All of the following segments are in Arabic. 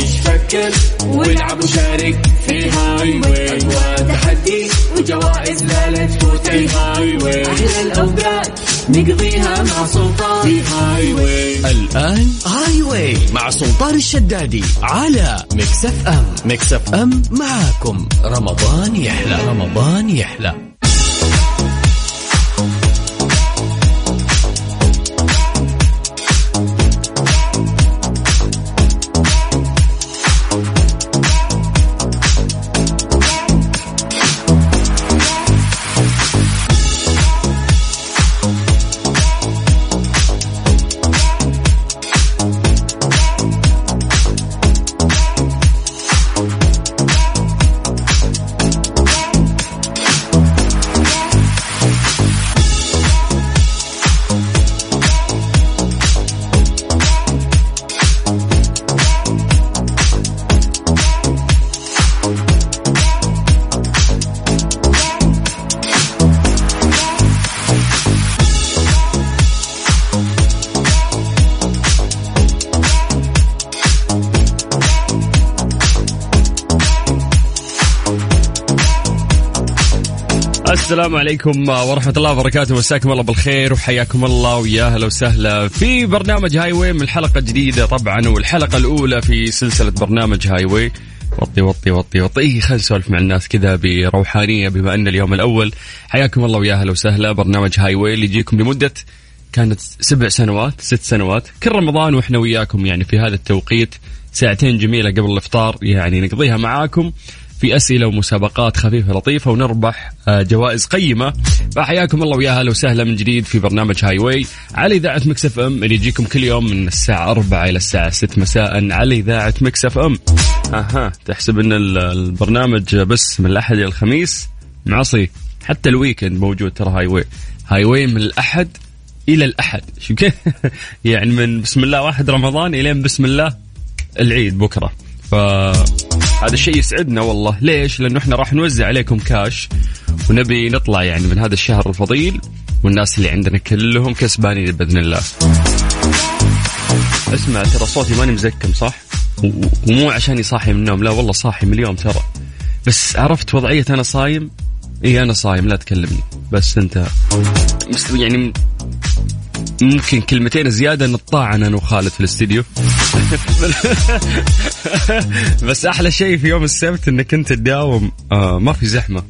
سكر والعب وشارك في الهاي واي أجواء تحدي وجوائز لا لا تفوت الهاي واي أحلى الأوقات نقضيها مع سلطان في الهاي واي الآن هاي واي مع سلطان الشدادي على ميكس اف ام ميكس اف ام معاكم رمضان يحلى رمضان يحلى السلام عليكم ورحمة الله وبركاته مساكم الله بالخير وحياكم الله ويا هلا وسهلا في برنامج هاي واي من حلقة جديدة طبعا والحلقة الأولى في سلسلة برنامج هاي واي وطي وطي وطي وطي إيه خلينا نسولف مع الناس كذا بروحانية بما أن اليوم الأول حياكم الله ويا هلا وسهلا برنامج هاي واي اللي يجيكم لمدة كانت سبع سنوات ست سنوات كل رمضان واحنا وياكم يعني في هذا التوقيت ساعتين جميلة قبل الإفطار يعني نقضيها معاكم في أسئلة ومسابقات خفيفة لطيفة ونربح آه، جوائز قيمة فحياكم الله ويا هلا وسهلا من جديد في برنامج هاي واي على إذاعة مكس اف ام اللي يجيكم كل يوم من الساعة 4 إلى الساعة 6 مساء على إذاعة مكس اف ام أها تحسب أن ال- البرنامج بس من الأحد إلى الخميس معصي حتى الويكند موجود ترى هاي واي هاي واي من الأحد إلى الأحد شو كيف يعني من بسم الله واحد رمضان إلين بسم الله العيد بكره فهذا الشيء يسعدنا والله ليش لانه احنا راح نوزع عليكم كاش ونبي نطلع يعني من هذا الشهر الفضيل والناس اللي عندنا كلهم كسبانين باذن الله اسمع ترى صوتي ماني مزكم صح و- ومو عشاني صاحي من النوم لا والله صاحي من اليوم ترى بس عرفت وضعيه انا صايم اي انا صايم لا تكلمني بس انت مست- يعني ممكن كلمتين زياده نطاعن انا وخالد في الاستديو بس احلى شيء في يوم السبت انك انت تداوم آه ما في زحمه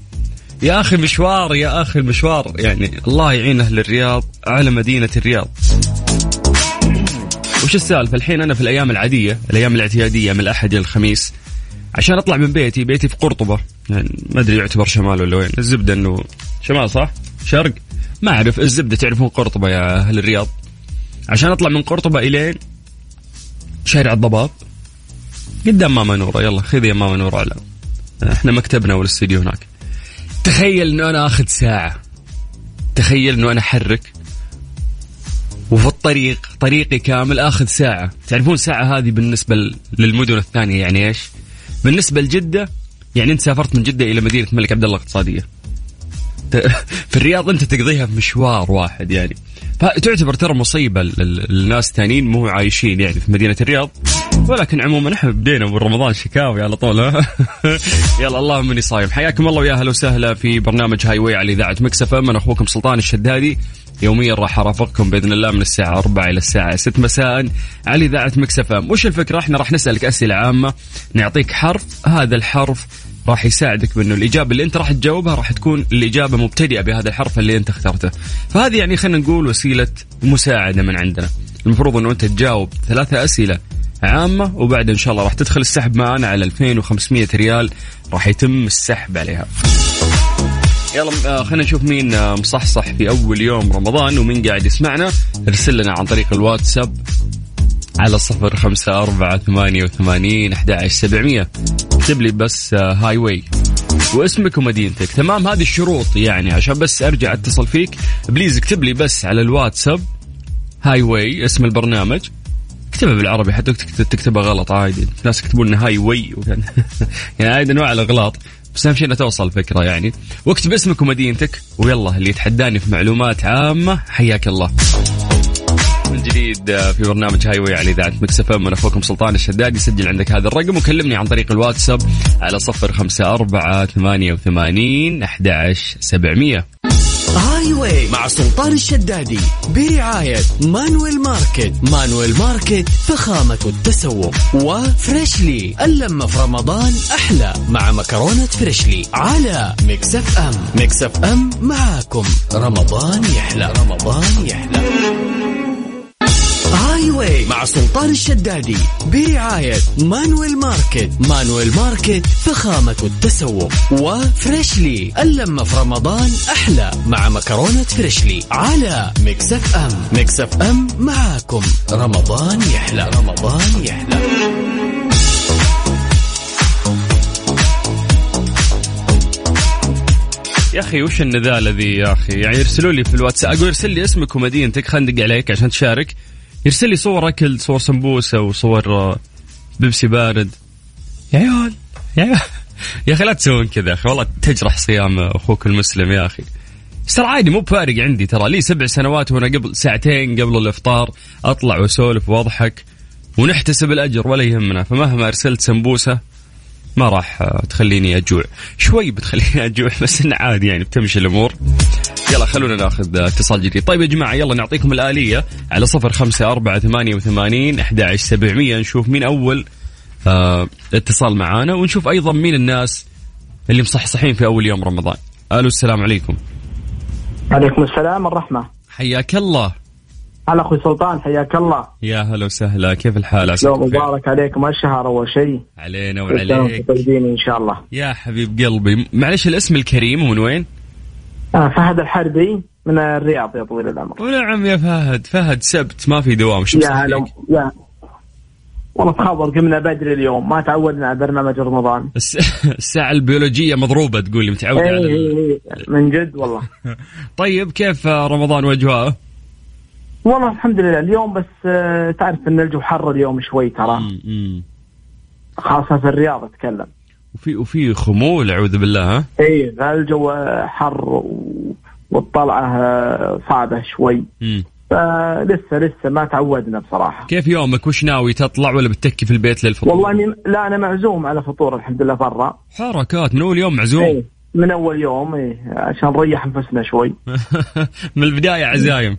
يا اخي مشوار يا اخي المشوار يعني الله يعين اهل الرياض على مدينه الرياض وش السالفه الحين انا في الايام العاديه الايام الاعتياديه من الاحد الى الخميس عشان اطلع من بيتي بيتي في قرطبه يعني ما ادري يعتبر شمال ولا وين الزبده انه شمال صح شرق ما اعرف الزبده تعرفون قرطبه يا اهل الرياض عشان اطلع من قرطبه الين شارع الضباب قدام ماما نورة يلا خذ يا ماما نورة على احنا مكتبنا والاستديو هناك تخيل انه انا اخذ ساعة تخيل انه انا احرك وفي الطريق طريقي كامل اخذ ساعة تعرفون ساعة هذه بالنسبة ل- للمدن الثانية يعني ايش بالنسبة لجدة يعني انت سافرت من جدة الى مدينة الملك عبد الله الاقتصادية ت- في الرياض انت تقضيها في مشوار واحد يعني فتعتبر ترى مصيبه ال- ال- الناس تانيين مو عايشين يعني في مدينه الرياض ولكن عموما احنا بدينا برمضان شكاوي على طول ها؟ يلا اللهم اني صايم حياكم الله ويا اهلا وسهلا في برنامج هاي واي على اذاعه مكسف ام انا اخوكم سلطان الشدادي يوميا راح ارافقكم باذن الله من الساعه 4 الى الساعه 6 مساء على اذاعه مكسف ام وش الفكره احنا راح نسالك اسئله عامه نعطيك حرف هذا الحرف راح يساعدك بانه الاجابه اللي انت راح تجاوبها راح تكون الاجابه مبتدئه بهذا الحرف اللي انت اخترته، فهذه يعني خلينا نقول وسيله مساعده من عندنا، المفروض انه انت تجاوب ثلاثه اسئله عامه وبعد ان شاء الله راح تدخل السحب معنا على 2500 ريال راح يتم السحب عليها. يلا آه، خلينا نشوف مين آه، مصحصح في اول يوم رمضان ومين قاعد يسمعنا، ارسل لنا عن طريق الواتساب على صفر خمسة أربعة ثمانية وثمانين أحد عشر سبعمية اكتب لي بس آه، هاي واي واسمك ومدينتك تمام هذه الشروط يعني عشان بس أرجع أتصل فيك بليز اكتب لي بس على الواتساب هاي واي اسم البرنامج اكتبها بالعربي حتى تكت- تكتبها غلط عادي ناس يكتبون هاي واي وكان- يعني هاي انواع الاغلاط بس اهم شيء انها توصل الفكره يعني واكتب اسمك ومدينتك ويلا اللي يتحداني في معلومات عامه حياك الله من جديد جديد في برنامج هاي واي على اذاعه مكس اف ام انا اخوكم سلطان الشدادي سجل عندك هذا الرقم وكلمني عن طريق الواتساب على 054 88 11700 هاي واي مع سلطان الشدادي برعاية مانويل ماركت مانويل ماركت فخامة التسوق وفريشلي اللمة في رمضان أحلى مع مكرونة فريشلي على مكسف أم مكسف أم معاكم رمضان يحلى رمضان يحلى هاي واي مع سلطان الشدادي برعاية مانويل ماركت مانويل ماركت فخامة التسوق وفريشلي اللمة في رمضان أحلى مع مكرونة فريشلي على مكسف أم مكسف أم معاكم رمضان يحلى رمضان يحلى يا اخي وش النذالة ذي يا اخي يعني يرسلوا لي في الواتساب اقول ارسل لي اسمك ومدينتك خلينا ندق عليك عشان تشارك يرسل لي صور اكل صور سمبوسه وصور آه، بيبسي بارد يا عيال يا عيال يا اخي لا تسوون كذا يا اخي والله تجرح صيام اخوك المسلم يا اخي بس ترى عادي مو بفارق عندي ترى لي سبع سنوات وانا قبل ساعتين قبل الافطار اطلع واسولف واضحك ونحتسب الاجر ولا يهمنا فمهما ارسلت سمبوسه ما راح آه، تخليني اجوع شوي بتخليني اجوع بس انه عادي يعني بتمشي الامور يلا خلونا ناخذ آه، اتصال جديد طيب يا جماعه يلا نعطيكم الاليه على صفر خمسه اربعه ثمانيه وثمانين احدى عشر سبعمئه نشوف مين اول آه اتصال معانا ونشوف ايضا مين الناس اللي مصحصحين في اول يوم رمضان الو السلام عليكم عليكم السلام والرحمة حياك الله هلا اخوي سلطان حياك الله يا هلا وسهلا كيف الحال عساك يوم بخير؟ مبارك عليكم الشهر اول شيء علينا وعليك وعليك ان شاء الله يا حبيب قلبي معلش الاسم الكريم من وين آه، فهد الحربي من الرياض يا طويل العمر ونعم نعم يا فهد فهد سبت ما في دوام شو يا بصحيح؟ هلا يا والله تخبر قمنا بدري اليوم ما تعودنا على برنامج رمضان الس- الساعة البيولوجية مضروبة تقول لي متعود إيه، على ال- إيه، إيه، من جد والله طيب كيف رمضان واجواءه؟ والله الحمد لله اليوم بس آه، تعرف ان الجو حر اليوم شوي ترى مم، مم. خاصة في الرياض اتكلم وفي وفي خمول اعوذ بالله ها؟ اي الجو آه، حر و- والطلعة آه، صعبة شوي مم. فلسه لسه ما تعودنا بصراحة كيف يومك وش ناوي تطلع ولا بتكي في البيت للفطور؟ والله اني لا انا معزوم على فطور الحمد لله برا حركات من اول يوم معزوم إيه، من اول يوم إيه عشان نريح انفسنا شوي من البداية عزايم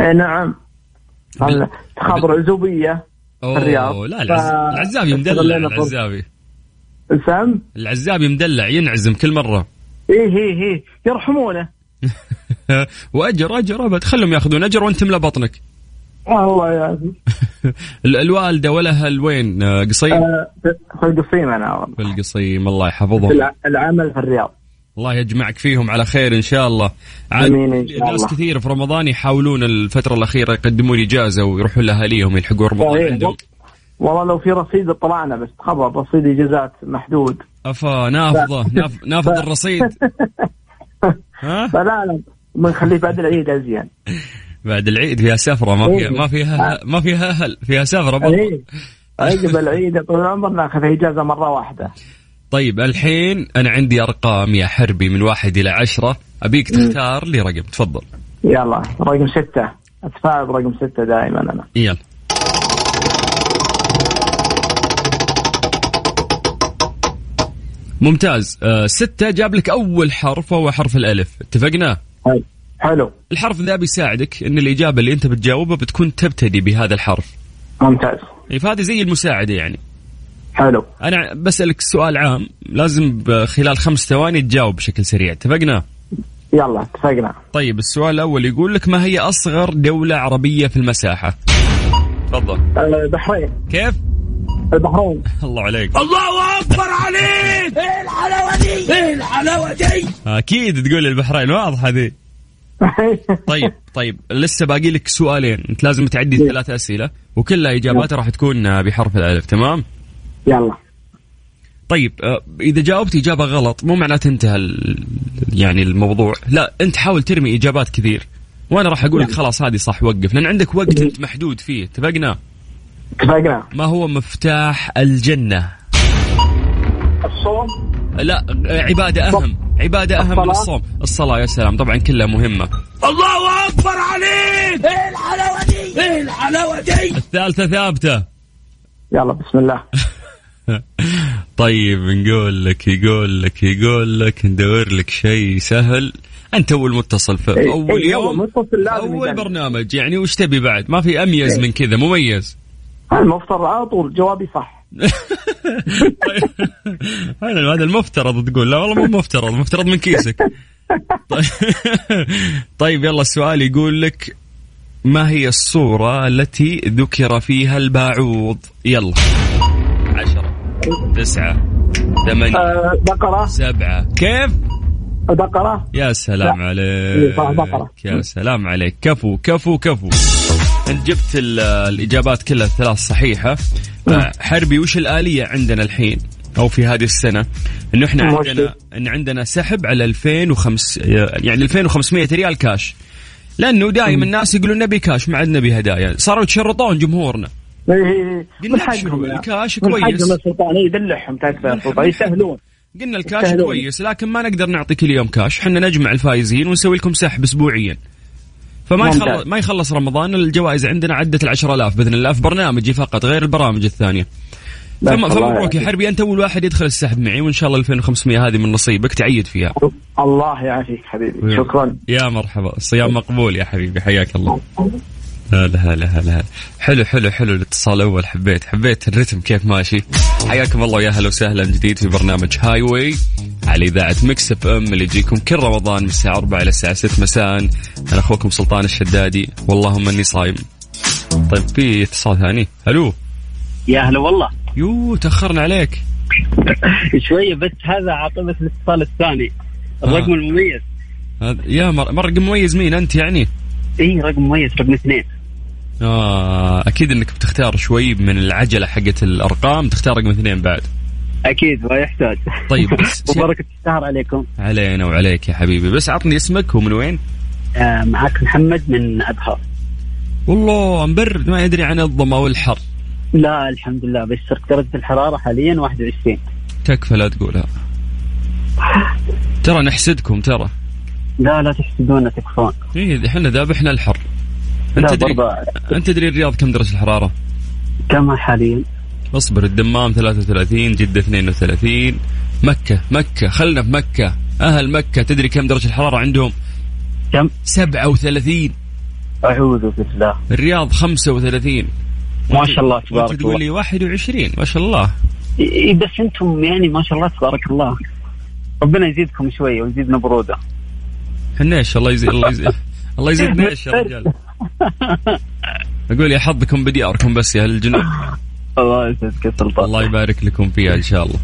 إيه نعم بال- خبر عزوبيه الرياض. اوه لا العز... ف- العزابي مدلع استغلينا فرصة. العزابي السام العزابي مدلع ينعزم كل مرة ايه ايه ايه يرحمونه واجر اجر ابد خلهم ياخذون اجر وانت ملا بطنك آه، والله يا اخي ال- الوالده والاهل وين آه، قصيم آه، في القصيم انا والله. في القصيم الله يحفظهم في الع- العمل في الرياض الله يجمعك فيهم على خير ان شاء الله عاد آمين إن شاء ناس الله. كثير في رمضان يحاولون الفتره الاخيره يقدمون اجازه ويروحون لاهاليهم يلحقون رمضان صحيح. عندهم والله لو في رصيد طلعنا بس خبر رصيد اجازات محدود افا نافضه ناف- نافض الرصيد ها فلا لا بنخليه بعد العيد ازين بعد العيد فيها سفره ما فيها إيه. ما فيها ما فيها اهل فيها سفره برضه إيه. ايه عقب العيد يا طويل العمر ناخذ اجازه مره واحده طيب الحين انا عندي ارقام يا حربي من واحد الى عشره ابيك تختار لي رقم تفضل يلا رقم ستة أتفاعل برقم ستة دائما أنا يلا ممتاز آه ستة جاب لك أول حرف وهو حرف الألف اتفقنا حلو حلو الحرف ذا بيساعدك أن الإجابة اللي أنت بتجاوبها بتكون تبتدي بهذا الحرف ممتاز يعني فهذه زي المساعدة يعني حلو أنا بسألك سؤال عام لازم خلال خمس ثواني تجاوب بشكل سريع اتفقنا يلا اتفقنا طيب السؤال الأول يقول لك ما هي أصغر دولة عربية في المساحة تفضل أه، البحرين كيف البحرين الله عليك الله اكبر عليك ايه الحلاوه دي ايه الحلاوه دي اكيد تقول البحرين واضحه ذي طيب طيب لسه باقي لك سؤالين انت لازم تعدي ثلاث اسئله وكلها اجاباتها راح تكون بحرف الالف تمام يلا طيب آه، اذا جاوبت اجابه غلط مو معناته انتهى ال- يعني الموضوع لا انت حاول ترمي اجابات كثير وانا راح اقول لك خلاص هذه صح وقف لان عندك وقت انت محدود فيه اتفقنا اتفقنا ما هو مفتاح الجنه الصوم لا آه، عباده اهم عباده اهم من الصلاة. الصوم الصلاه يا سلام طبعا كلها مهمه الله اكبر عليك ايه الحلاوه دي ايه الحلاوه دي الثالثة ثابتة يلا بسم الله طيب نقول لك يقول لك يقول لك ندور لك شيء سهل انت اول متصل في إيه، اول إيه، يوم أول متصل لازم إيه. اول يجنن. برنامج يعني وش تبي بعد ما في اميز من كذا مميز المفترض على طول جوابي صح طيب. حلو هذا المفترض تقول لا والله مو مفترض مفترض من كيسك طيب. طيب يلا السؤال يقول لك ما هي الصورة التي ذكر فيها الباعوض يلا عشرة تسعة ثمانية آه، بقره سبعة كيف بقره يا سلام لا. إيه، صح، عليك بقرة. يا سلام عليك كفو كفو كفو انت جبت ال- الاجابات كلها الثلاث صحيحه نعم. آه، حربي وش الاليه عندنا الحين او في هذه السنه انه احنا ماشي. عندنا ان عندنا سحب على 2500 يعني 2500 ريال كاش لانه دائما الناس يقولون نبي كاش ما عاد نبي هدايا صاروا يتشرطون جمهورنا إيه، إيه، قلنا إيه. من شو، حقهم يعني. الكاش من كويس. حقهم السلطان إيه، يدلعهم تكفى يا سلطان يستهلون قلنا الكاش يستاهلون. كويس لكن ما نقدر نعطي كل يوم كاش حنا نجمع الفائزين ونسوي لكم سحب اسبوعيا فما ممتاز. يخلص ما يخلص رمضان الجوائز عندنا عدت ال 10000 باذن الله في برنامجي فقط غير البرامج الثانيه لا، فم- الله فمبروك يا يعافيك. حربي انت اول واحد يدخل السحب معي وان شاء الله 2500 هذه من نصيبك تعيد فيها الله يعافيك حبيبي شكرا يا مرحبا الصيام مقبول يا حبيبي حياك الله هلا هلا هلا هلا. حلو حلو حلو الاتصال الاول حبيت حبيت الرتم كيف ماشي حياكم الله ويا هلا وسهلا من جديد في برنامج هاي واي على اذاعه مكس اف ام اللي يجيكم كل رمضان من الساعه 4 الى الساعه 6 مساء انا اخوكم سلطان الشدادي واللهم اني صايم طيب في اتصال ثاني الو يا هلا والله يو تاخرنا عليك شويه بس هذا عاطمه الاتصال الثاني الرقم آه. المميز هذا- يا مر... مرقم مميز مين انت يعني؟ اي إيه، رقم مميز رقم اثنين آه اكيد انك بتختار شوي من العجله حقت الارقام تختار رقم اثنين بعد اكيد ما يحتاج طيب، بس- وبركه الشهر عليكم علينا وعليك يا حبيبي بس عطني اسمك ومن وين آه معك محمد من ابها والله مبرد ما يدري عن الظما والحر لا الحمد لله بس درجه الحراره حاليا 21 تكفى لا تقولها ترى نحسدكم ترى لا لا تحسدونا تكفون ايه احنا ذابحنا الحر انت لا تدري برضه انت تدري الرياض كم درجه الحراره كما حاليا اصبر الدمام 33 جده 32 مكه مكه خلنا في مكه اهل مكه تدري كم درجه الحراره عندهم كم 37 اعوذ بالله الرياض 35 ما شاء الله وانت تبارك تقول الله لي 21 ما شاء الله إي- إي، بس انتم يعني ما شاء الله تبارك الله ربنا يزيدكم شويه ويزيدنا بروده حنيش الله يزيد الله يزيد الله يزيد نيش يا رجال اقول يا حظكم بدياركم بس يا اهل الجنوب الله يسعدك يا سلطان الله يبارك لكم فيها ان شاء الله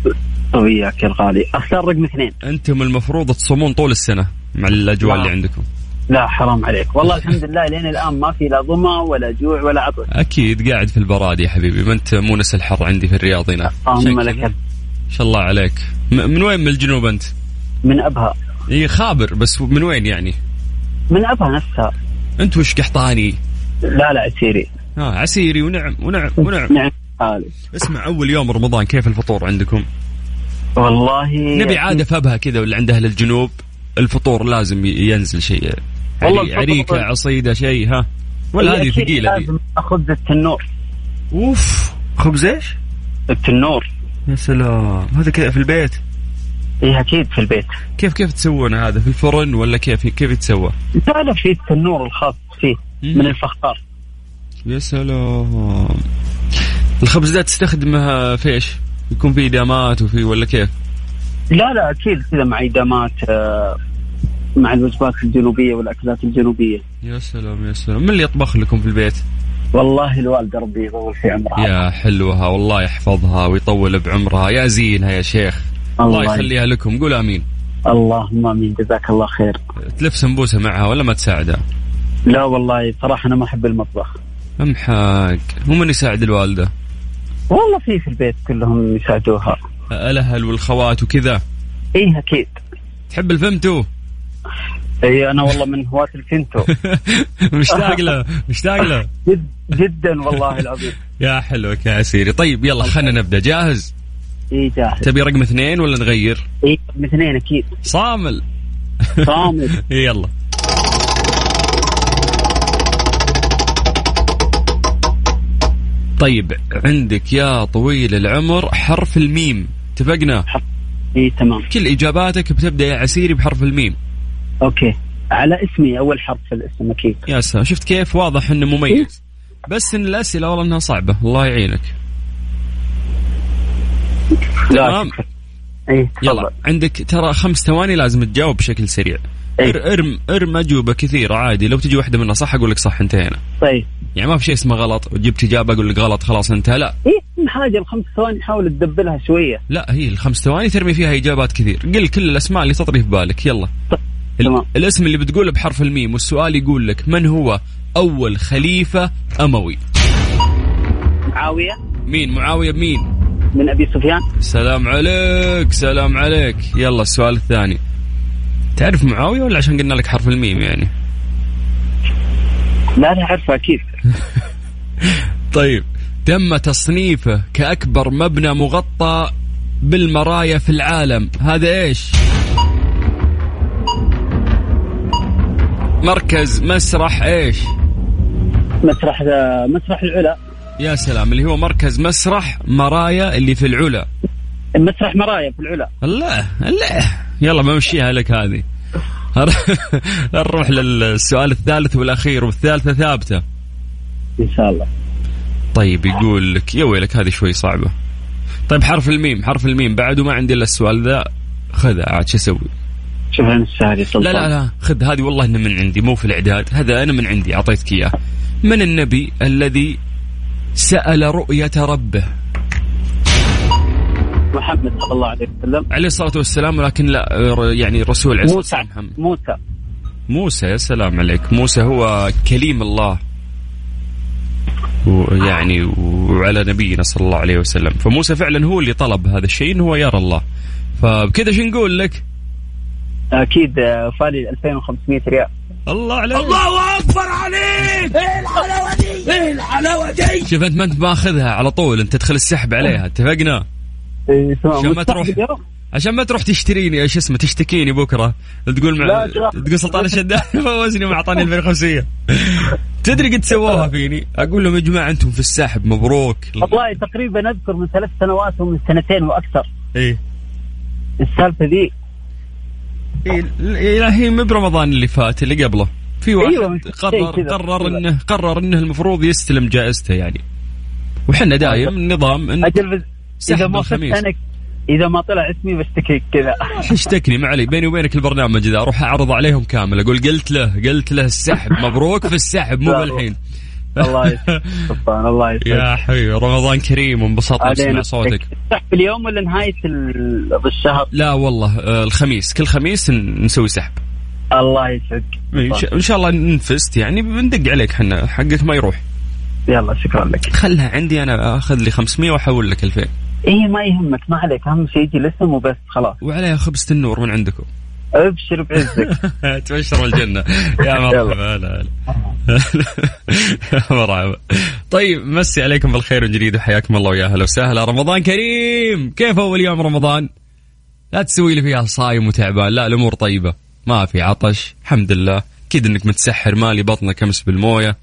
وياك يا الغالي اختار رقم اثنين انتم المفروض تصومون طول السنه مع الاجواء نعم. اللي عندكم لا حرام عليك والله الحمد لله لين الان ما في لا ظما ولا جوع ولا عطش اكيد قاعد في البراد يا حبيبي ما انت مونس الحر عندي في الرياض هنا عشان اللهم كذا. لك ما شاء الله عليك م- من وين من الجنوب انت؟ من ابها اي خابر بس من وين يعني؟ من ابها نفسها انت وش قحطاني؟ لا لا عسيري ها عسيري ونعم ونعم ونعم نعم حالي اسمع اول يوم رمضان كيف الفطور عندكم؟ والله نبي عاده فبها كذا واللي عند اهل الجنوب الفطور لازم ي- ينزل شيء والله عري- الفطور- عريكه عصيده شيء ها ولا هذه أكيد ثقيله دي لازم اخذ التنور اوف خبز ايش؟ التنور يا سلام هذا كذا في البيت ايه اكيد في البيت كيف كيف تسوون هذا في الفرن ولا كيف كيف يتسوى؟ لا لا في التنور الخاص فيه مم. من الفخار يا سلام الخبز ده تستخدمه في ايش؟ يكون في دامات وفي ولا كيف؟ لا لا اكيد كذا مع عيدامات آه، مع الوجبات الجنوبيه والاكلات الجنوبيه يا سلام يا سلام من اللي يطبخ لكم في البيت؟ والله الوالده ربي يطول في عمرها يا حلوها والله يحفظها ويطول بعمرها يا زينها يا شيخ الله يخليها لكم قول امين اللهم امين جزاك الله خير تلف سمبوسه معها ولا ما تساعدها؟ لا والله صراحة أنا ما أحب المطبخ امحاك مو من يساعد الوالده؟ والله في في البيت كلهم يساعدوها الاهل والخوات وكذا إيه أكيد تحب الفمتو؟ إيه أنا والله من هواة الفينتو مشتاق له مشتاق له جد جدا والله العظيم يا حلوك يا عسيري طيب يلا خلينا نبدا جاهز؟ إيه جاهز تبي رقم اثنين ولا نغير؟ إيه رقم اثنين أكيد صامل صامت يلا طيب عندك يا طويل العمر حرف الميم اتفقنا اي إيه، تمام كل اجاباتك بتبدا يا عسيري بحرف الميم اوكي على اسمي اول حرف في الاسم اكيد يا سلام شفت كيف واضح انه مميز بس ان الاسئله والله انها صعبه الله يعينك تمام اي يلا إيه، تفضل عندك ترى خمس ثواني لازم تجاوب بشكل سريع إيه. إر- ارم ارم اجوبه كثيره عادي لو تجي واحده منها صح اقول لك صح انتهينا طيب يعني ما في شيء اسمه غلط وجبت اجابه اقول لك غلط خلاص انتهى لا اي حاجه إيه، الخمس ثواني حاول تدبلها شويه لا هي الخمس ثواني ترمي فيها اجابات كثير قل كل الاسماء اللي تطري في بالك يلا ال- تمام. الاسم اللي بتقوله بحرف الميم والسؤال يقول لك من هو اول خليفه اموي معاويه مين معاويه مين من ابي سفيان سلام عليك سلام عليك يلا السؤال الثاني تعرف معاويه ولا عشان قلنا لك حرف الميم يعني لا لا اعرفها اكيد طيب تم تصنيفه كأكبر مبنى مغطى بالمرايا في العالم هذا إيش مركز مسرح إيش مسرح آه، مسرح العلا يا سلام اللي هو مركز مسرح مرايا اللي في العلا مسرح مرايا في العلا الله الله يلا بمشيها لك هذه نروح للسؤال الثالث والأخير والثالثة ثابتة ان شاء الله طيب يقول لك يا ويلك هذه شوي صعبة طيب حرف الميم حرف الميم بعد وما عندي الا السؤال ذا خذها عاد شو اسوي؟ شوف انا السهل لا لا لا خذ هذه والله انه من عندي مو في الاعداد هذا انا من عندي اعطيتك اياه من النبي الذي سأل رؤية ربه محمد صلى الله عليه وسلم عليه الصلاة والسلام ولكن لا ر- يعني الرسول عليه الصلاة موسى والسلام محمد. موسى موسى يا سلام عليك موسى هو كليم الله ويعني وعلى نبينا صلى الله عليه وسلم فموسى فعلا هو اللي طلب هذا الشيء انه هو يرى الله فبكذا شو نقول لك اكيد آه، فالي 2500 ريال الله عليك الله اكبر عليك ايه الحلاوه دي ايه الحلاوه دي شوف انت ما انت ماخذها على طول انت تدخل السحب عليها اتفقنا إيه، تمام. عشان ما مستحق تروح اليوم؟ عشان ما تروح تشتريني ايش اسمه تشتكيني بكره تقول مع لا، تروح. تقول سلطان الشداد فوزني ومعطاني 2500 تدري قد سووها فيني اقول لهم يا جماعه انتم في السحب مبروك والله تقريبا اذكر من ثلاث سنوات ومن سنتين واكثر ايه السالفه ذي إيه، لا هي مو برمضان اللي فات اللي قبله في واحد أيوة، شيء قرر كذا. قرر انه قرر انه المفروض يستلم جائزته يعني وحنا دايم أيوة. النظام انه اجل بز... سحب اذا ما فزت الخميس. انا اذا ما طلع اسمي بشتكيك كذا اشتكني ما علي بيني وبينك البرنامج ذا اروح اعرض عليهم كامل اقول قلت له قلت له السحب مبروك في السحب مو لا، بالحين الله يسلمك سلطان الله يسلمك يا حبيبي رمضان كريم وانبسطنا بسمع صوتك تحت اليوم ولا نهايه ال- الشهر لا والله آه، الخميس كل خميس ن- نسوي سحب الله يسعدك إن شاء- ان شاء الله إن فزت يعني بندق عليك حنا حقك ما يروح يلا شكرا لك خلها عندي انا اخذ لي 500 واحول لك 2000 ايه ما يهمك ما عليك اهم شيء يجي الاسم وبس خلاص وعليها خبزة النور من عندكم ابشر بعزك تبشر الجنة يا مرحبا هلا هلا يا مرحبا طيب مسي عليكم بالخير والجديد وحياكم الله ويا هلا وسهلا رمضان كريم كيف أول يوم رمضان لا تسوي لي فيها صايم وتعبان لا الأمور طيبة ما في عطش الحمد لله أكيد أنك متسحر مالي بطنك أمس بالموية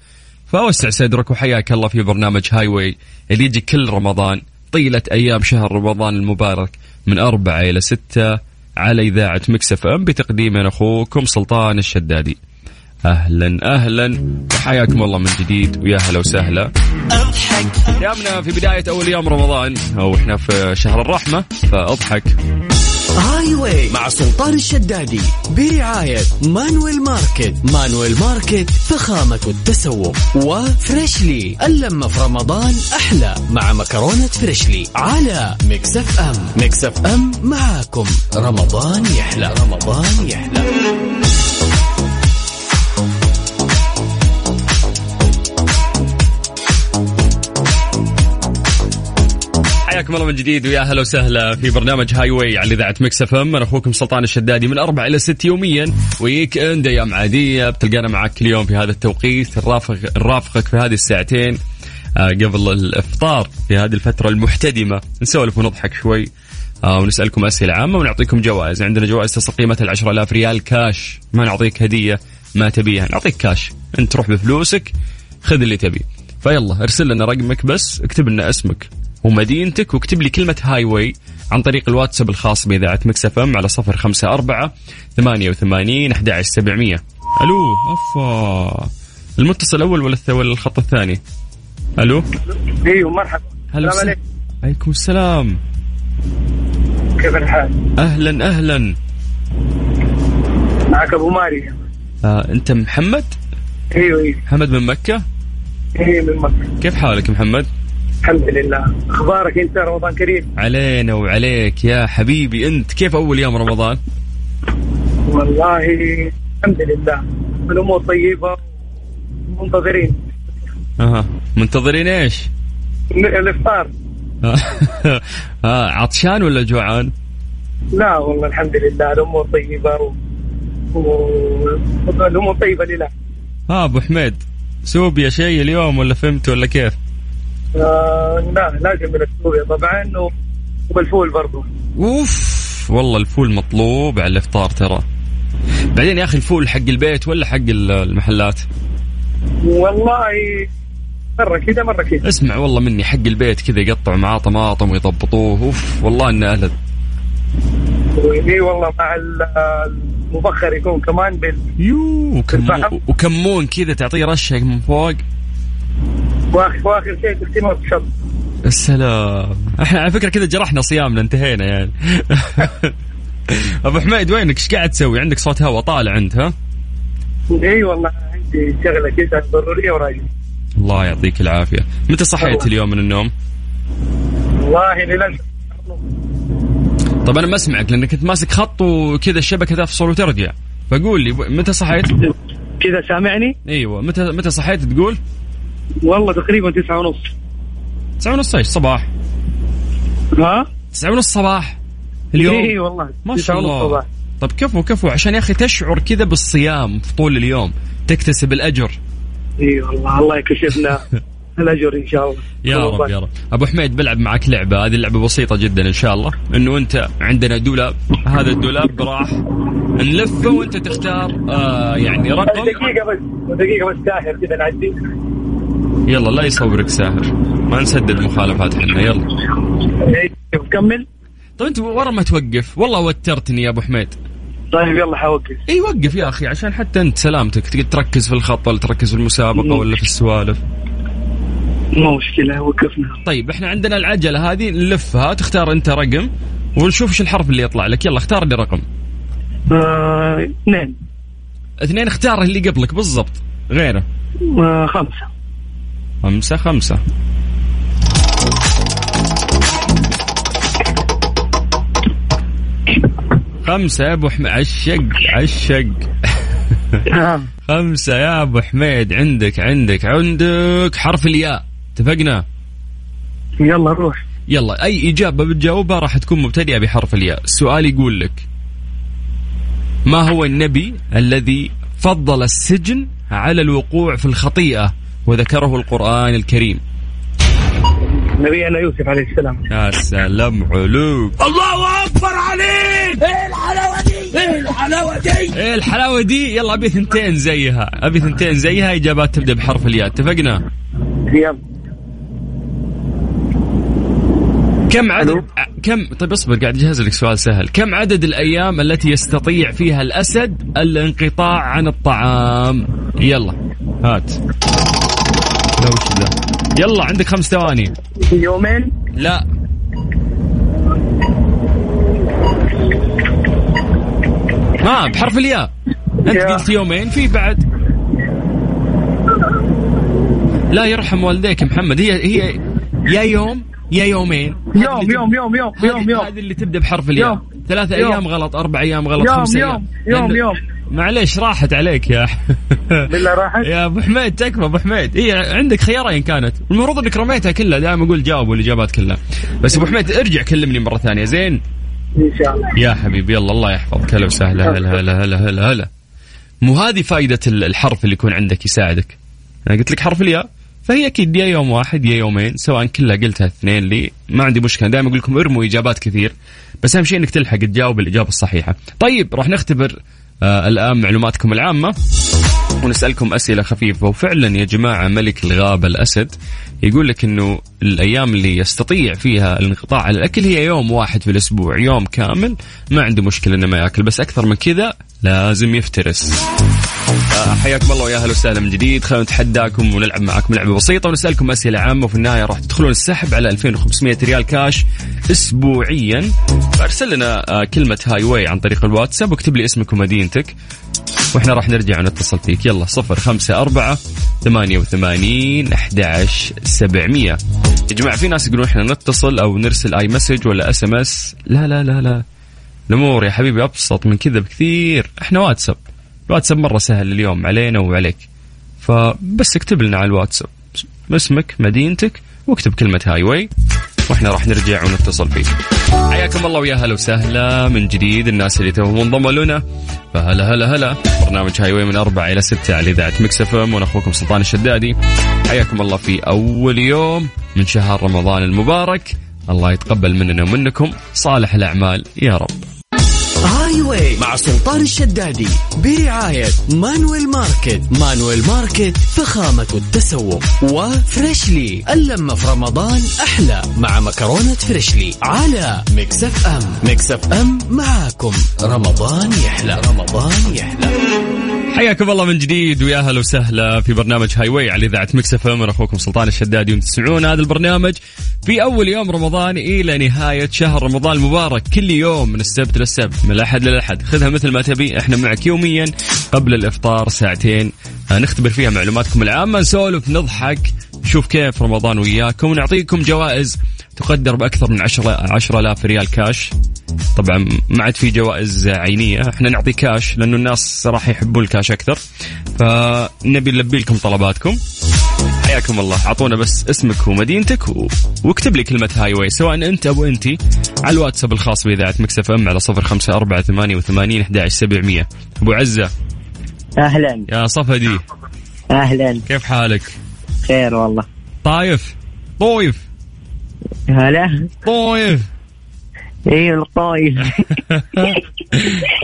فأوسع صدرك وحياك الله في برنامج هاي واي اللي يجي كل رمضان طيلة أيام شهر رمضان المبارك من أربعة إلى ستة على إذاعة مكسف أم بتقديم أنا أخوكم سلطان الشدادي أهلا أهلا وحياكم الله من جديد ويا هلا وسهلا يامنا في بداية أول يوم رمضان أو إحنا في شهر الرحمة فأضحك هاي واي مع سلطان الشدادي برعاية مانويل ماركت مانويل ماركت فخامة التسوق وفريشلي اللمة في رمضان أحلى مع مكرونة فريشلي على مكسف أم مكسف أم معاكم رمضان يحلى رمضان يحلى حياكم الله من جديد ويا هلا وسهلا في برنامج هاي واي على اذاعه مكس اف ام انا اخوكم سلطان الشدادي من اربع الى ست يوميا ويك اند ايام عاديه بتلقانا معك كل يوم في هذا التوقيت نرافق نرافقك في هذه الساعتين آه، قبل الافطار في هذه الفتره المحتدمه نسولف ونضحك شوي آه، ونسالكم اسئله عامه ونعطيكم جوائز عندنا جوائز تصل قيمتها ال 10000 ريال كاش ما نعطيك هديه ما تبيها نعطيك كاش انت تروح بفلوسك خذ اللي تبيه فيلا ارسل لنا رقمك بس اكتب لنا اسمك ومدينتك واكتب لي كلمة هاي واي عن طريق الواتساب الخاص بإذاعة مكس اف ام على صفر خمسة أربعة ثمانية وثمانين أحد عشر سبعمية ألو أفا المتصل الأول ولا الث- ولا الخط الثاني ألو ايوه مرحبا هلا وسهلا. السلام عليكم عليكم السلام كيف الحال؟ أهلا أهلا معك ابو ماري آه أنت محمد ايوه ايوه محمد من مكة ايوه من مكه كيف حالك محمد الحمد لله اخبارك انت رمضان كريم علينا وعليك يا حبيبي أنت كيف أول يوم رمضان والله الحمد لله الامور طيبه منتظرين اها منتظرين ايش؟ ن- الافطار آه عطشان ولا جوعان؟ لا والله الحمد لله الامور طيبه و... و... الامور طيبه لله ها ابو آه، حميد سوب يا شيء اليوم ولا فهمت ولا كيف؟ آه لا لازم من السوريا طبعا و... والفول برضو اوف والله الفول مطلوب على الافطار ترى. بعدين يا اخي الفول حق البيت ولا حق ال- المحلات؟ والله مره كذا مره كذا اسمع والله مني حق البيت كذا يقطعوا معاه طماطم ويضبطوه اوف والله انه اهلد. اي والله مع ال- المبخر يكون كمان بال... يو الفحم. وكمون وكمون كذا تعطيه رشه من فوق واخر واخر شيء تختمه بشط السلام احنا على فكره كذا جرحنا صيامنا انتهينا يعني ابو حميد وينك ايش قاعد تسوي عندك صوت هواء طالع انت ها اي والله عندي شغله كذا ضروريه وراجع الله يعطيك العافيه متى صحيت اليوم من النوم والله للاسف طب انا ما اسمعك لانك كنت ماسك خط وكذا الشبكه تفصل وترجع فقول لي متى صحيت كذا سامعني ايوه متى متى صحيت تقول والله تقريبا تسعة ونص 9 ونص ايش صباح ها 9 ونص صباح اليوم اي والله ما شاء تسعة ونص الله صباح. طب كفو كفو عشان يا اخي تشعر كذا بالصيام في طول اليوم تكتسب الاجر اي والله الله يكشفنا الاجر ان شاء الله يا رب يا رب ابو حميد بلعب معك لعبه هذه اللعبه بسيطه جدا ان شاء الله انه انت عندنا دولاب هذا الدولاب راح نلفه وانت تختار آه يعني رقم دقيقة بس دقيقة بس ساحر كذا نعدي يلا لا يصورك ساهر ما نسدد مخالفات احنا يلا إيه، كمل طب انت ورا ما توقف والله وترتني يا ابو حميد طيب يلا حوقف اي وقف يا اخي عشان حتى انت سلامتك تقعد تركز في الخط ولا تركز في المسابقه ولا في السوالف مو مشكلة وقفنا طيب احنا عندنا العجله هذه نلفها تختار انت رقم ونشوف ايش الحرف اللي يطلع لك يلا اختار لي رقم آه، اثنين اثنين اختار اللي قبلك بالضبط غيره آه، خمسة خمسة خمسة خمسة يا ابو حميد عشق عشق آه. خمسة يا ابو حميد عندك عندك عندك حرف الياء اتفقنا يلا روح يلا اي اجابة بتجاوبها راح تكون مبتدئة بحرف الياء السؤال يقول لك ما هو النبي الذي فضل السجن على الوقوع في الخطيئة وذكره القرآن الكريم نبينا يوسف عليه السلام يا سلام علوم الله اكبر عليك ايه الحلاوه دي ايه الحلاوه دي ايه الحلاوه دي يلا ابي ثنتين زيها ابي ثنتين زيها اجابات تبدا بحرف الياء اتفقنا يلا كم عدد ع- كم طيب اصبر قاعد اجهز لك سؤال سهل كم عدد الايام التي يستطيع فيها الاسد الانقطاع عن الطعام يلا هات لو شذا يلا عندك خمس ثواني يومين لا ما آه، بحرف الياء انت يا. قلت يومين في بعد لا يرحم والديك محمد هي هي يا يوم يا يومين هذه يوم اللي يوم يوم يوم تب- يوم يوم هذه اللي تبدا بحرف الياء يوم. ثلاثة يوم. ايام غلط اربع ايام غلط يوم، خمسة يوم، ايام يوم، لأن- يوم. معليش راحت عليك يا بالله راحت يا ابو حميد تكفى ابو حميد اي عندك خيارين كانت المفروض انك رميتها كلها دائما اقول جاوبوا الاجابات كلها بس ابو حميد ارجع كلمني مره ثانيه زين ان شاء الله يا حبيبي يلا الله يحفظك هلا وسهلا هلا هلا هلا هلا هلا مو هذه فائده ال- الحرف اللي يكون عندك يساعدك انا قلت لك حرف الياء فهي اكيد يا يوم واحد يا يومين سواء كلها قلتها اثنين لي ما عندي مشكله دائما اقول لكم ارموا اجابات كثير بس اهم شيء انك تلحق تجاوب الاجابه الصحيحه طيب راح نختبر آه الان معلوماتكم العامه ونسألكم أسئلة خفيفة وفعلا يا جماعة ملك الغابة الأسد يقول لك أنه الأيام اللي يستطيع فيها الانقطاع على الأكل هي يوم واحد في الأسبوع يوم كامل ما عنده مشكلة أنه ما يأكل بس أكثر من كذا لازم يفترس آه، حياكم الله ويا اهلا وسهلا من جديد خلونا نتحداكم ونلعب معاكم لعبه بسيطه ونسالكم اسئله عامه وفي النهايه راح تدخلون السحب على 2500 ريال كاش اسبوعيا فارسل لنا آه، كلمه هاي واي عن طريق الواتساب واكتب لي اسمك ومدينتك واحنا راح نرجع ونتصل فيك يلا صفر خمسة أربعة ثمانية وثمانين أحد سبعمية يا جماعة في ناس يقولون احنا نتصل أو نرسل آي مسج ولا اس ام اس لا لا لا لا الأمور يا حبيبي أبسط من كذا بكثير احنا واتساب الواتساب مرة سهل اليوم علينا وعليك فبس اكتب لنا على الواتساب اسمك مدينتك واكتب كلمة هاي واي واحنا راح نرجع ونتصل فيك حياكم الله ويا هلا وسهلا من جديد الناس اللي توهم انضموا لنا فهلا هلا هلا برنامج هاي واي من أربعة إلى ستة على إذاعة مكس اف ام وأنا أخوكم سلطان الشدادي حياكم الله في أول يوم من شهر رمضان المبارك الله يتقبل مننا ومنكم صالح الأعمال يا رب هاي واي مع سلطان الشدادي برعاية مانويل ماركت مانويل ماركت فخامة التسوق وفريشلي اللمة في رمضان أحلى مع مكرونة فريشلي على مكسف أم مكسف أم معاكم رمضان يحلى رمضان يحلى حياكم الله من جديد ويا هلا وسهلا في برنامج هاي واي على اذاعه مكس اف ام أنا اخوكم سلطان الشدادي وتسمعون هذا البرنامج في اول يوم رمضان الى نهايه شهر رمضان المبارك كل يوم من السبت للسبت من الاحد للاحد خذها مثل ما تبي احنا معك يوميا قبل الافطار ساعتين آه، نختبر فيها معلوماتكم العامه نسولف نضحك نشوف كيف رمضان وياكم ونعطيكم جوائز تقدر باكثر من 10 10000 ريال كاش طبعا ما عاد في جوائز عينيه احنا نعطي كاش لانه الناس راح يحبون الكاش اكثر فنبي نلبي لكم طلباتكم حياكم الله اعطونا بس اسمك ومدينتك و... واكتب لي كلمه هاي واي سواء انت او انت على الواتساب الخاص باذاعه مكسف ام على 05488 11700 ابو عزه اهلا يا صفدي اهلا كيف حالك؟ خير والله طايف طويف هلا طويف ايه الطايف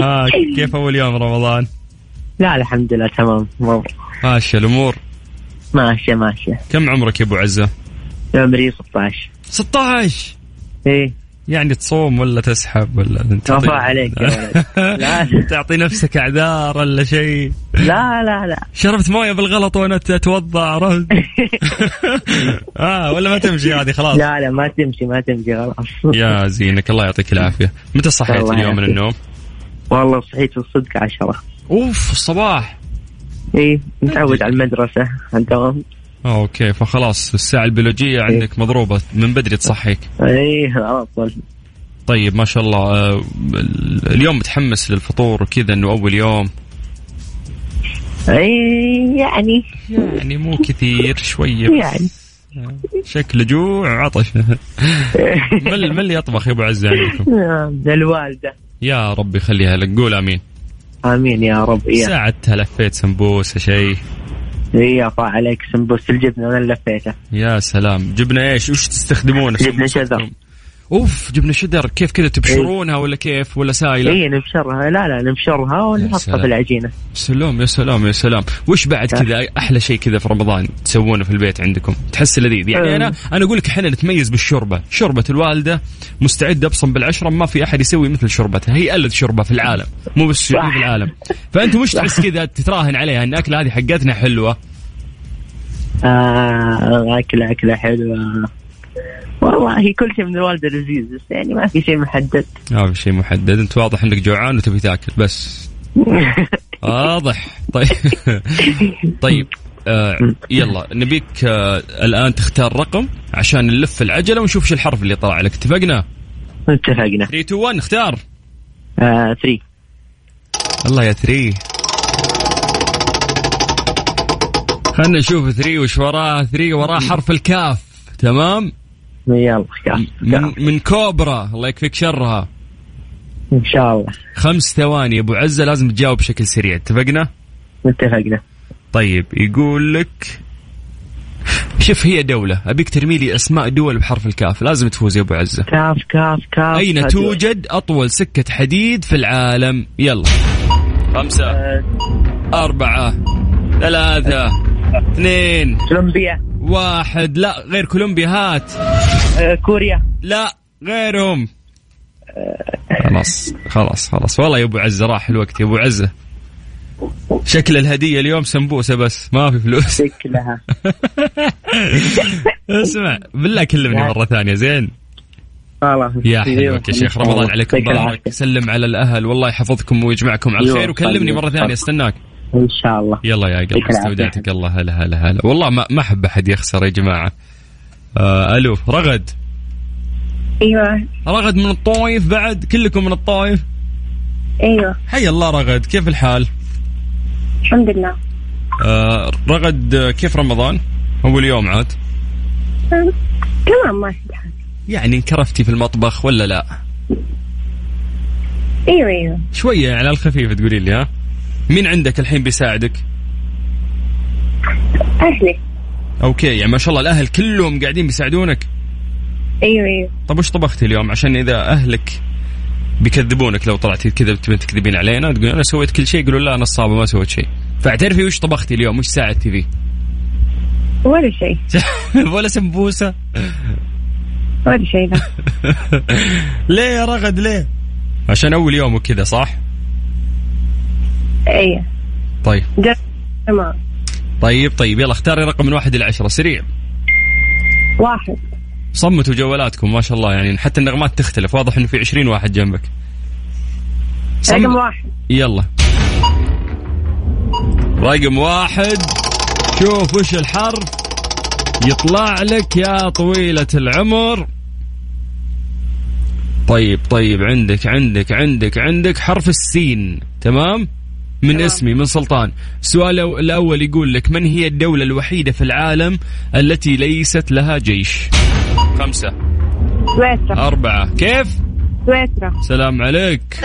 آه كيف اول يوم رمضان؟ لا الحمد لله تمام ماشيه الامور ماشية ماشية كم عمرك يا ابو عزه؟ عمري 16 16 ايه يعني تصوم ولا تسحب ولا انت وفاء عليك يا ولد. لا. تعطي نفسك اعذار ولا شيء لا لا لا شربت مويه بالغلط وانا اتوضا عرفت اه ولا ما تمشي هذه خلاص لا لا ما تمشي ما تمشي خلاص يا زينك الله يعطيك العافيه متى صحيت الله اليوم من يعافيك. النوم والله صحيت الصدق عشرة اوف الصباح ايه متعود على المدرسة على الدوام اوكي فخلاص الساعه البيولوجيه عندك مضروبه من بدري تصحيك ايه على طول طيب ما شاء الله آه، ال- اليوم متحمس للفطور وكذا انه اول يوم ايه يعني يعني مو كثير شويه بس. يعني شكل جوع عطش من من اللي يطبخ يا ابو عزه عندكم؟ نعم، الوالدة يا رب يخليها لك قول امين امين يا رب يا ساعة لفيت سمبوسه شيء يا طال عليك سمبوس الجبنة انا اللي لفيته يا سلام جبنه ايش وش تستخدمون في جبنة إيه. شذر. سمبوسكم؟ اوف جبنه شدر كيف كذا تبشرونها ولا كيف ولا سايله؟ ايه نبشرها لا لا نبشرها ونحطها سلام. في العجينة سلام يا سلام يا سلام وش بعد نعم. كذا احلى شيء كذا في رمضان تسوونه في البيت عندكم تحس لذيذ يعني أم. انا انا اقول لك احنا نتميز بالشوربه شوربه الوالده مستعده ابصم بالعشره ما في احد يسوي مثل شوربتها هي الذ شوربه في العالم مو بس في صح. العالم فانت مش تحس كذا تتراهن عليها ان الاكله هذه حقتنا حلوه آه أكلة أكلة حلوة والله كل شيء من الوالدة لذيذ بس يعني ما في شيء محدد ما في شيء محدد انت واضح انك جوعان وتبي تاكل بس واضح طيب طيب آه يلا نبيك آه الان تختار رقم عشان نلف العجله ونشوف شو الحرف اللي طلع لك اتفقنا اتفقنا 3 2 1 اختار آه ثري الله يا 3 خلنا نشوف 3 وش وراه 3 وراه حرف الكاف تمام يلا كاف من, من كوبرا الله يكفيك شرها إن شاء الله خمس ثواني ابو عزه لازم تجاوب بشكل سريع اتفقنا اتفقنا طيب يقول لك شوف هي دولة أبيك ترمي لي أسماء دول بحرف الكاف لازم تفوز يا أبو عزة كاف كاف كاف أين هدوء. توجد أطول سكة حديد في العالم يلا خمسة آه، أربعة ثلاثة اثنين كولومبيا واحد لا غير كولومبيا هات آه، كوريا لا غيرهم خلاص خلاص خلاص والله يا ابو عزه راح الوقت يا ابو عزه شكل الهديه اليوم سمبوسه بس ما في فلوس شكلها اسمع بالله كلمني مره ثانيه زين خلاص يا أيوه، حلوك يا شيخ رمضان عليك يعطيك مبارك العافية. سلم على الاهل والله يحفظكم ويجمعكم على أيوة، الخير وكلمني طيب. مره ثانيه استناك ان شاء الله يلا يا قلب يعطيك العافية. استودعتك يلا هلا هلا هلا والله ما ما احب احد يخسر يا جماعه آه الو رغد ايوه رغد من الطايف بعد كلكم من الطايف ايوه حي الله رغد كيف الحال؟ الحمد لله آه، رغد آه، كيف رمضان؟ اول يوم عاد أم، تمام ماشي الحال يعني انكرفتي في المطبخ ولا لا؟ ايوه ايوه شويه يعني على الخفيف تقولي لي ها؟ مين عندك الحين بيساعدك؟ اهلي اوكي يعني ما شاء الله الاهل كلهم قاعدين بيساعدونك، ايوه ايوه طب وش طبختي اليوم عشان اذا اهلك بيكذبونك لو طلعتي كذا تبين تكذبين علينا تقولين انا سويت كل شيء يقولوا لا انا الصابه ما سويت شيء. فاعترفي وش طبختي اليوم؟ وش ساعدتي فيه؟ ولا شيء ولا سمبوسه؟ ولا شيء لا ليه يا رغد ليه؟ عشان اول يوم وكذا صح؟ ايوه طيب جد تمام طيب طيب يلا اختاري رقم من واحد إلى عشرة سريع واحد صمتوا جوالاتكم ما شاء الله يعني حتى النغمات تختلف واضح انه في 20 واحد جنبك صم- رقم واحد يلا رقم واحد شوف وش الحرف يطلع لك يا طويلة العمر طيب طيب عندك عندك عندك عندك حرف السين تمام من تمام. اسمي من سلطان السؤال الأو- الأول يقول لك من هي الدولة الوحيدة في العالم التي ليست لها جيش خمسة آه. سويسرا أربعة كيف سويسرا سلام عليك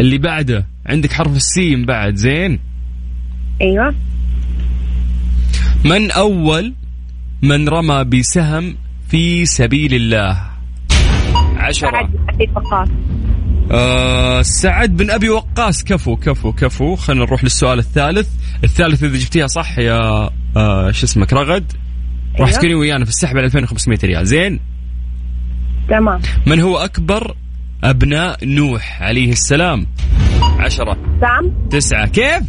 اللي بعده عندك حرف السين بعد زين ايوه من أول من رمى بسهم في سبيل الله عشرة بعد ابي فقاط آه سعد بن أبي وقاص كفو كفو كفو خلينا نروح للسؤال الثالث الثالث إذا جبتيها صح يا آه شو اسمك رغد راح أيوة. تكوني ويانا في السحب على 2500 ريال زين تمام من هو أكبر أبناء نوح عليه السلام عشرة سام تسعة كيف؟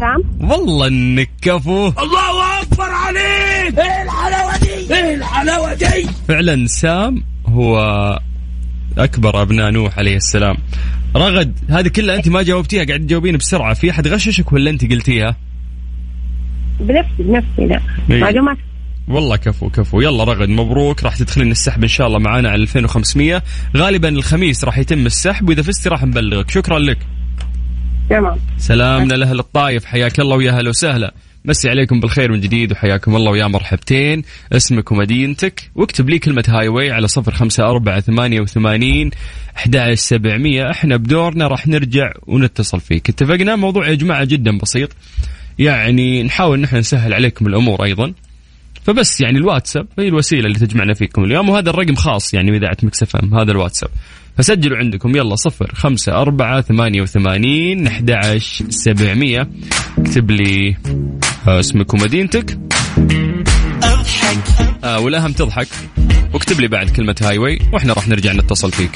سام والله انك كفو الله اكبر عليك ايه الحلاوه دي ايه الحلاوه دي فعلا سام هو اكبر ابناء نوح عليه السلام رغد هذه كلها انت ما جاوبتيها قاعد تجاوبين بسرعه في احد غششك ولا انت قلتيها بنفسي بنفسي لا إيه. معلومات والله كفو كفو يلا رغد مبروك راح تدخلين السحب ان شاء الله معانا على 2500 غالبا الخميس راح يتم السحب واذا فزتي راح نبلغك شكرا لك تمام سلامنا لاهل الطايف حياك الله ويا هلا وسهلا مسي عليكم بالخير من جديد وحياكم الله ويا مرحبتين اسمك ومدينتك واكتب لي كلمة هاي واي على صفر خمسة أربعة ثمانية وثمانين أحد سبعمية احنا بدورنا راح نرجع ونتصل فيك اتفقنا موضوع يا جماعة جدا بسيط يعني نحاول نحن نسهل عليكم الأمور أيضا فبس يعني الواتساب هي الوسيله اللي تجمعنا فيكم اليوم وهذا الرقم خاص يعني باذاعه مكس اف ام هذا الواتساب فسجلوا عندكم يلا صفر خمسة أربعة ثمانية وثمانين أحد سبعمية اكتب لي آه، اسمك ومدينتك آه، والأهم تضحك واكتب لي بعد كلمة هاي واي وإحنا راح نرجع نتصل فيك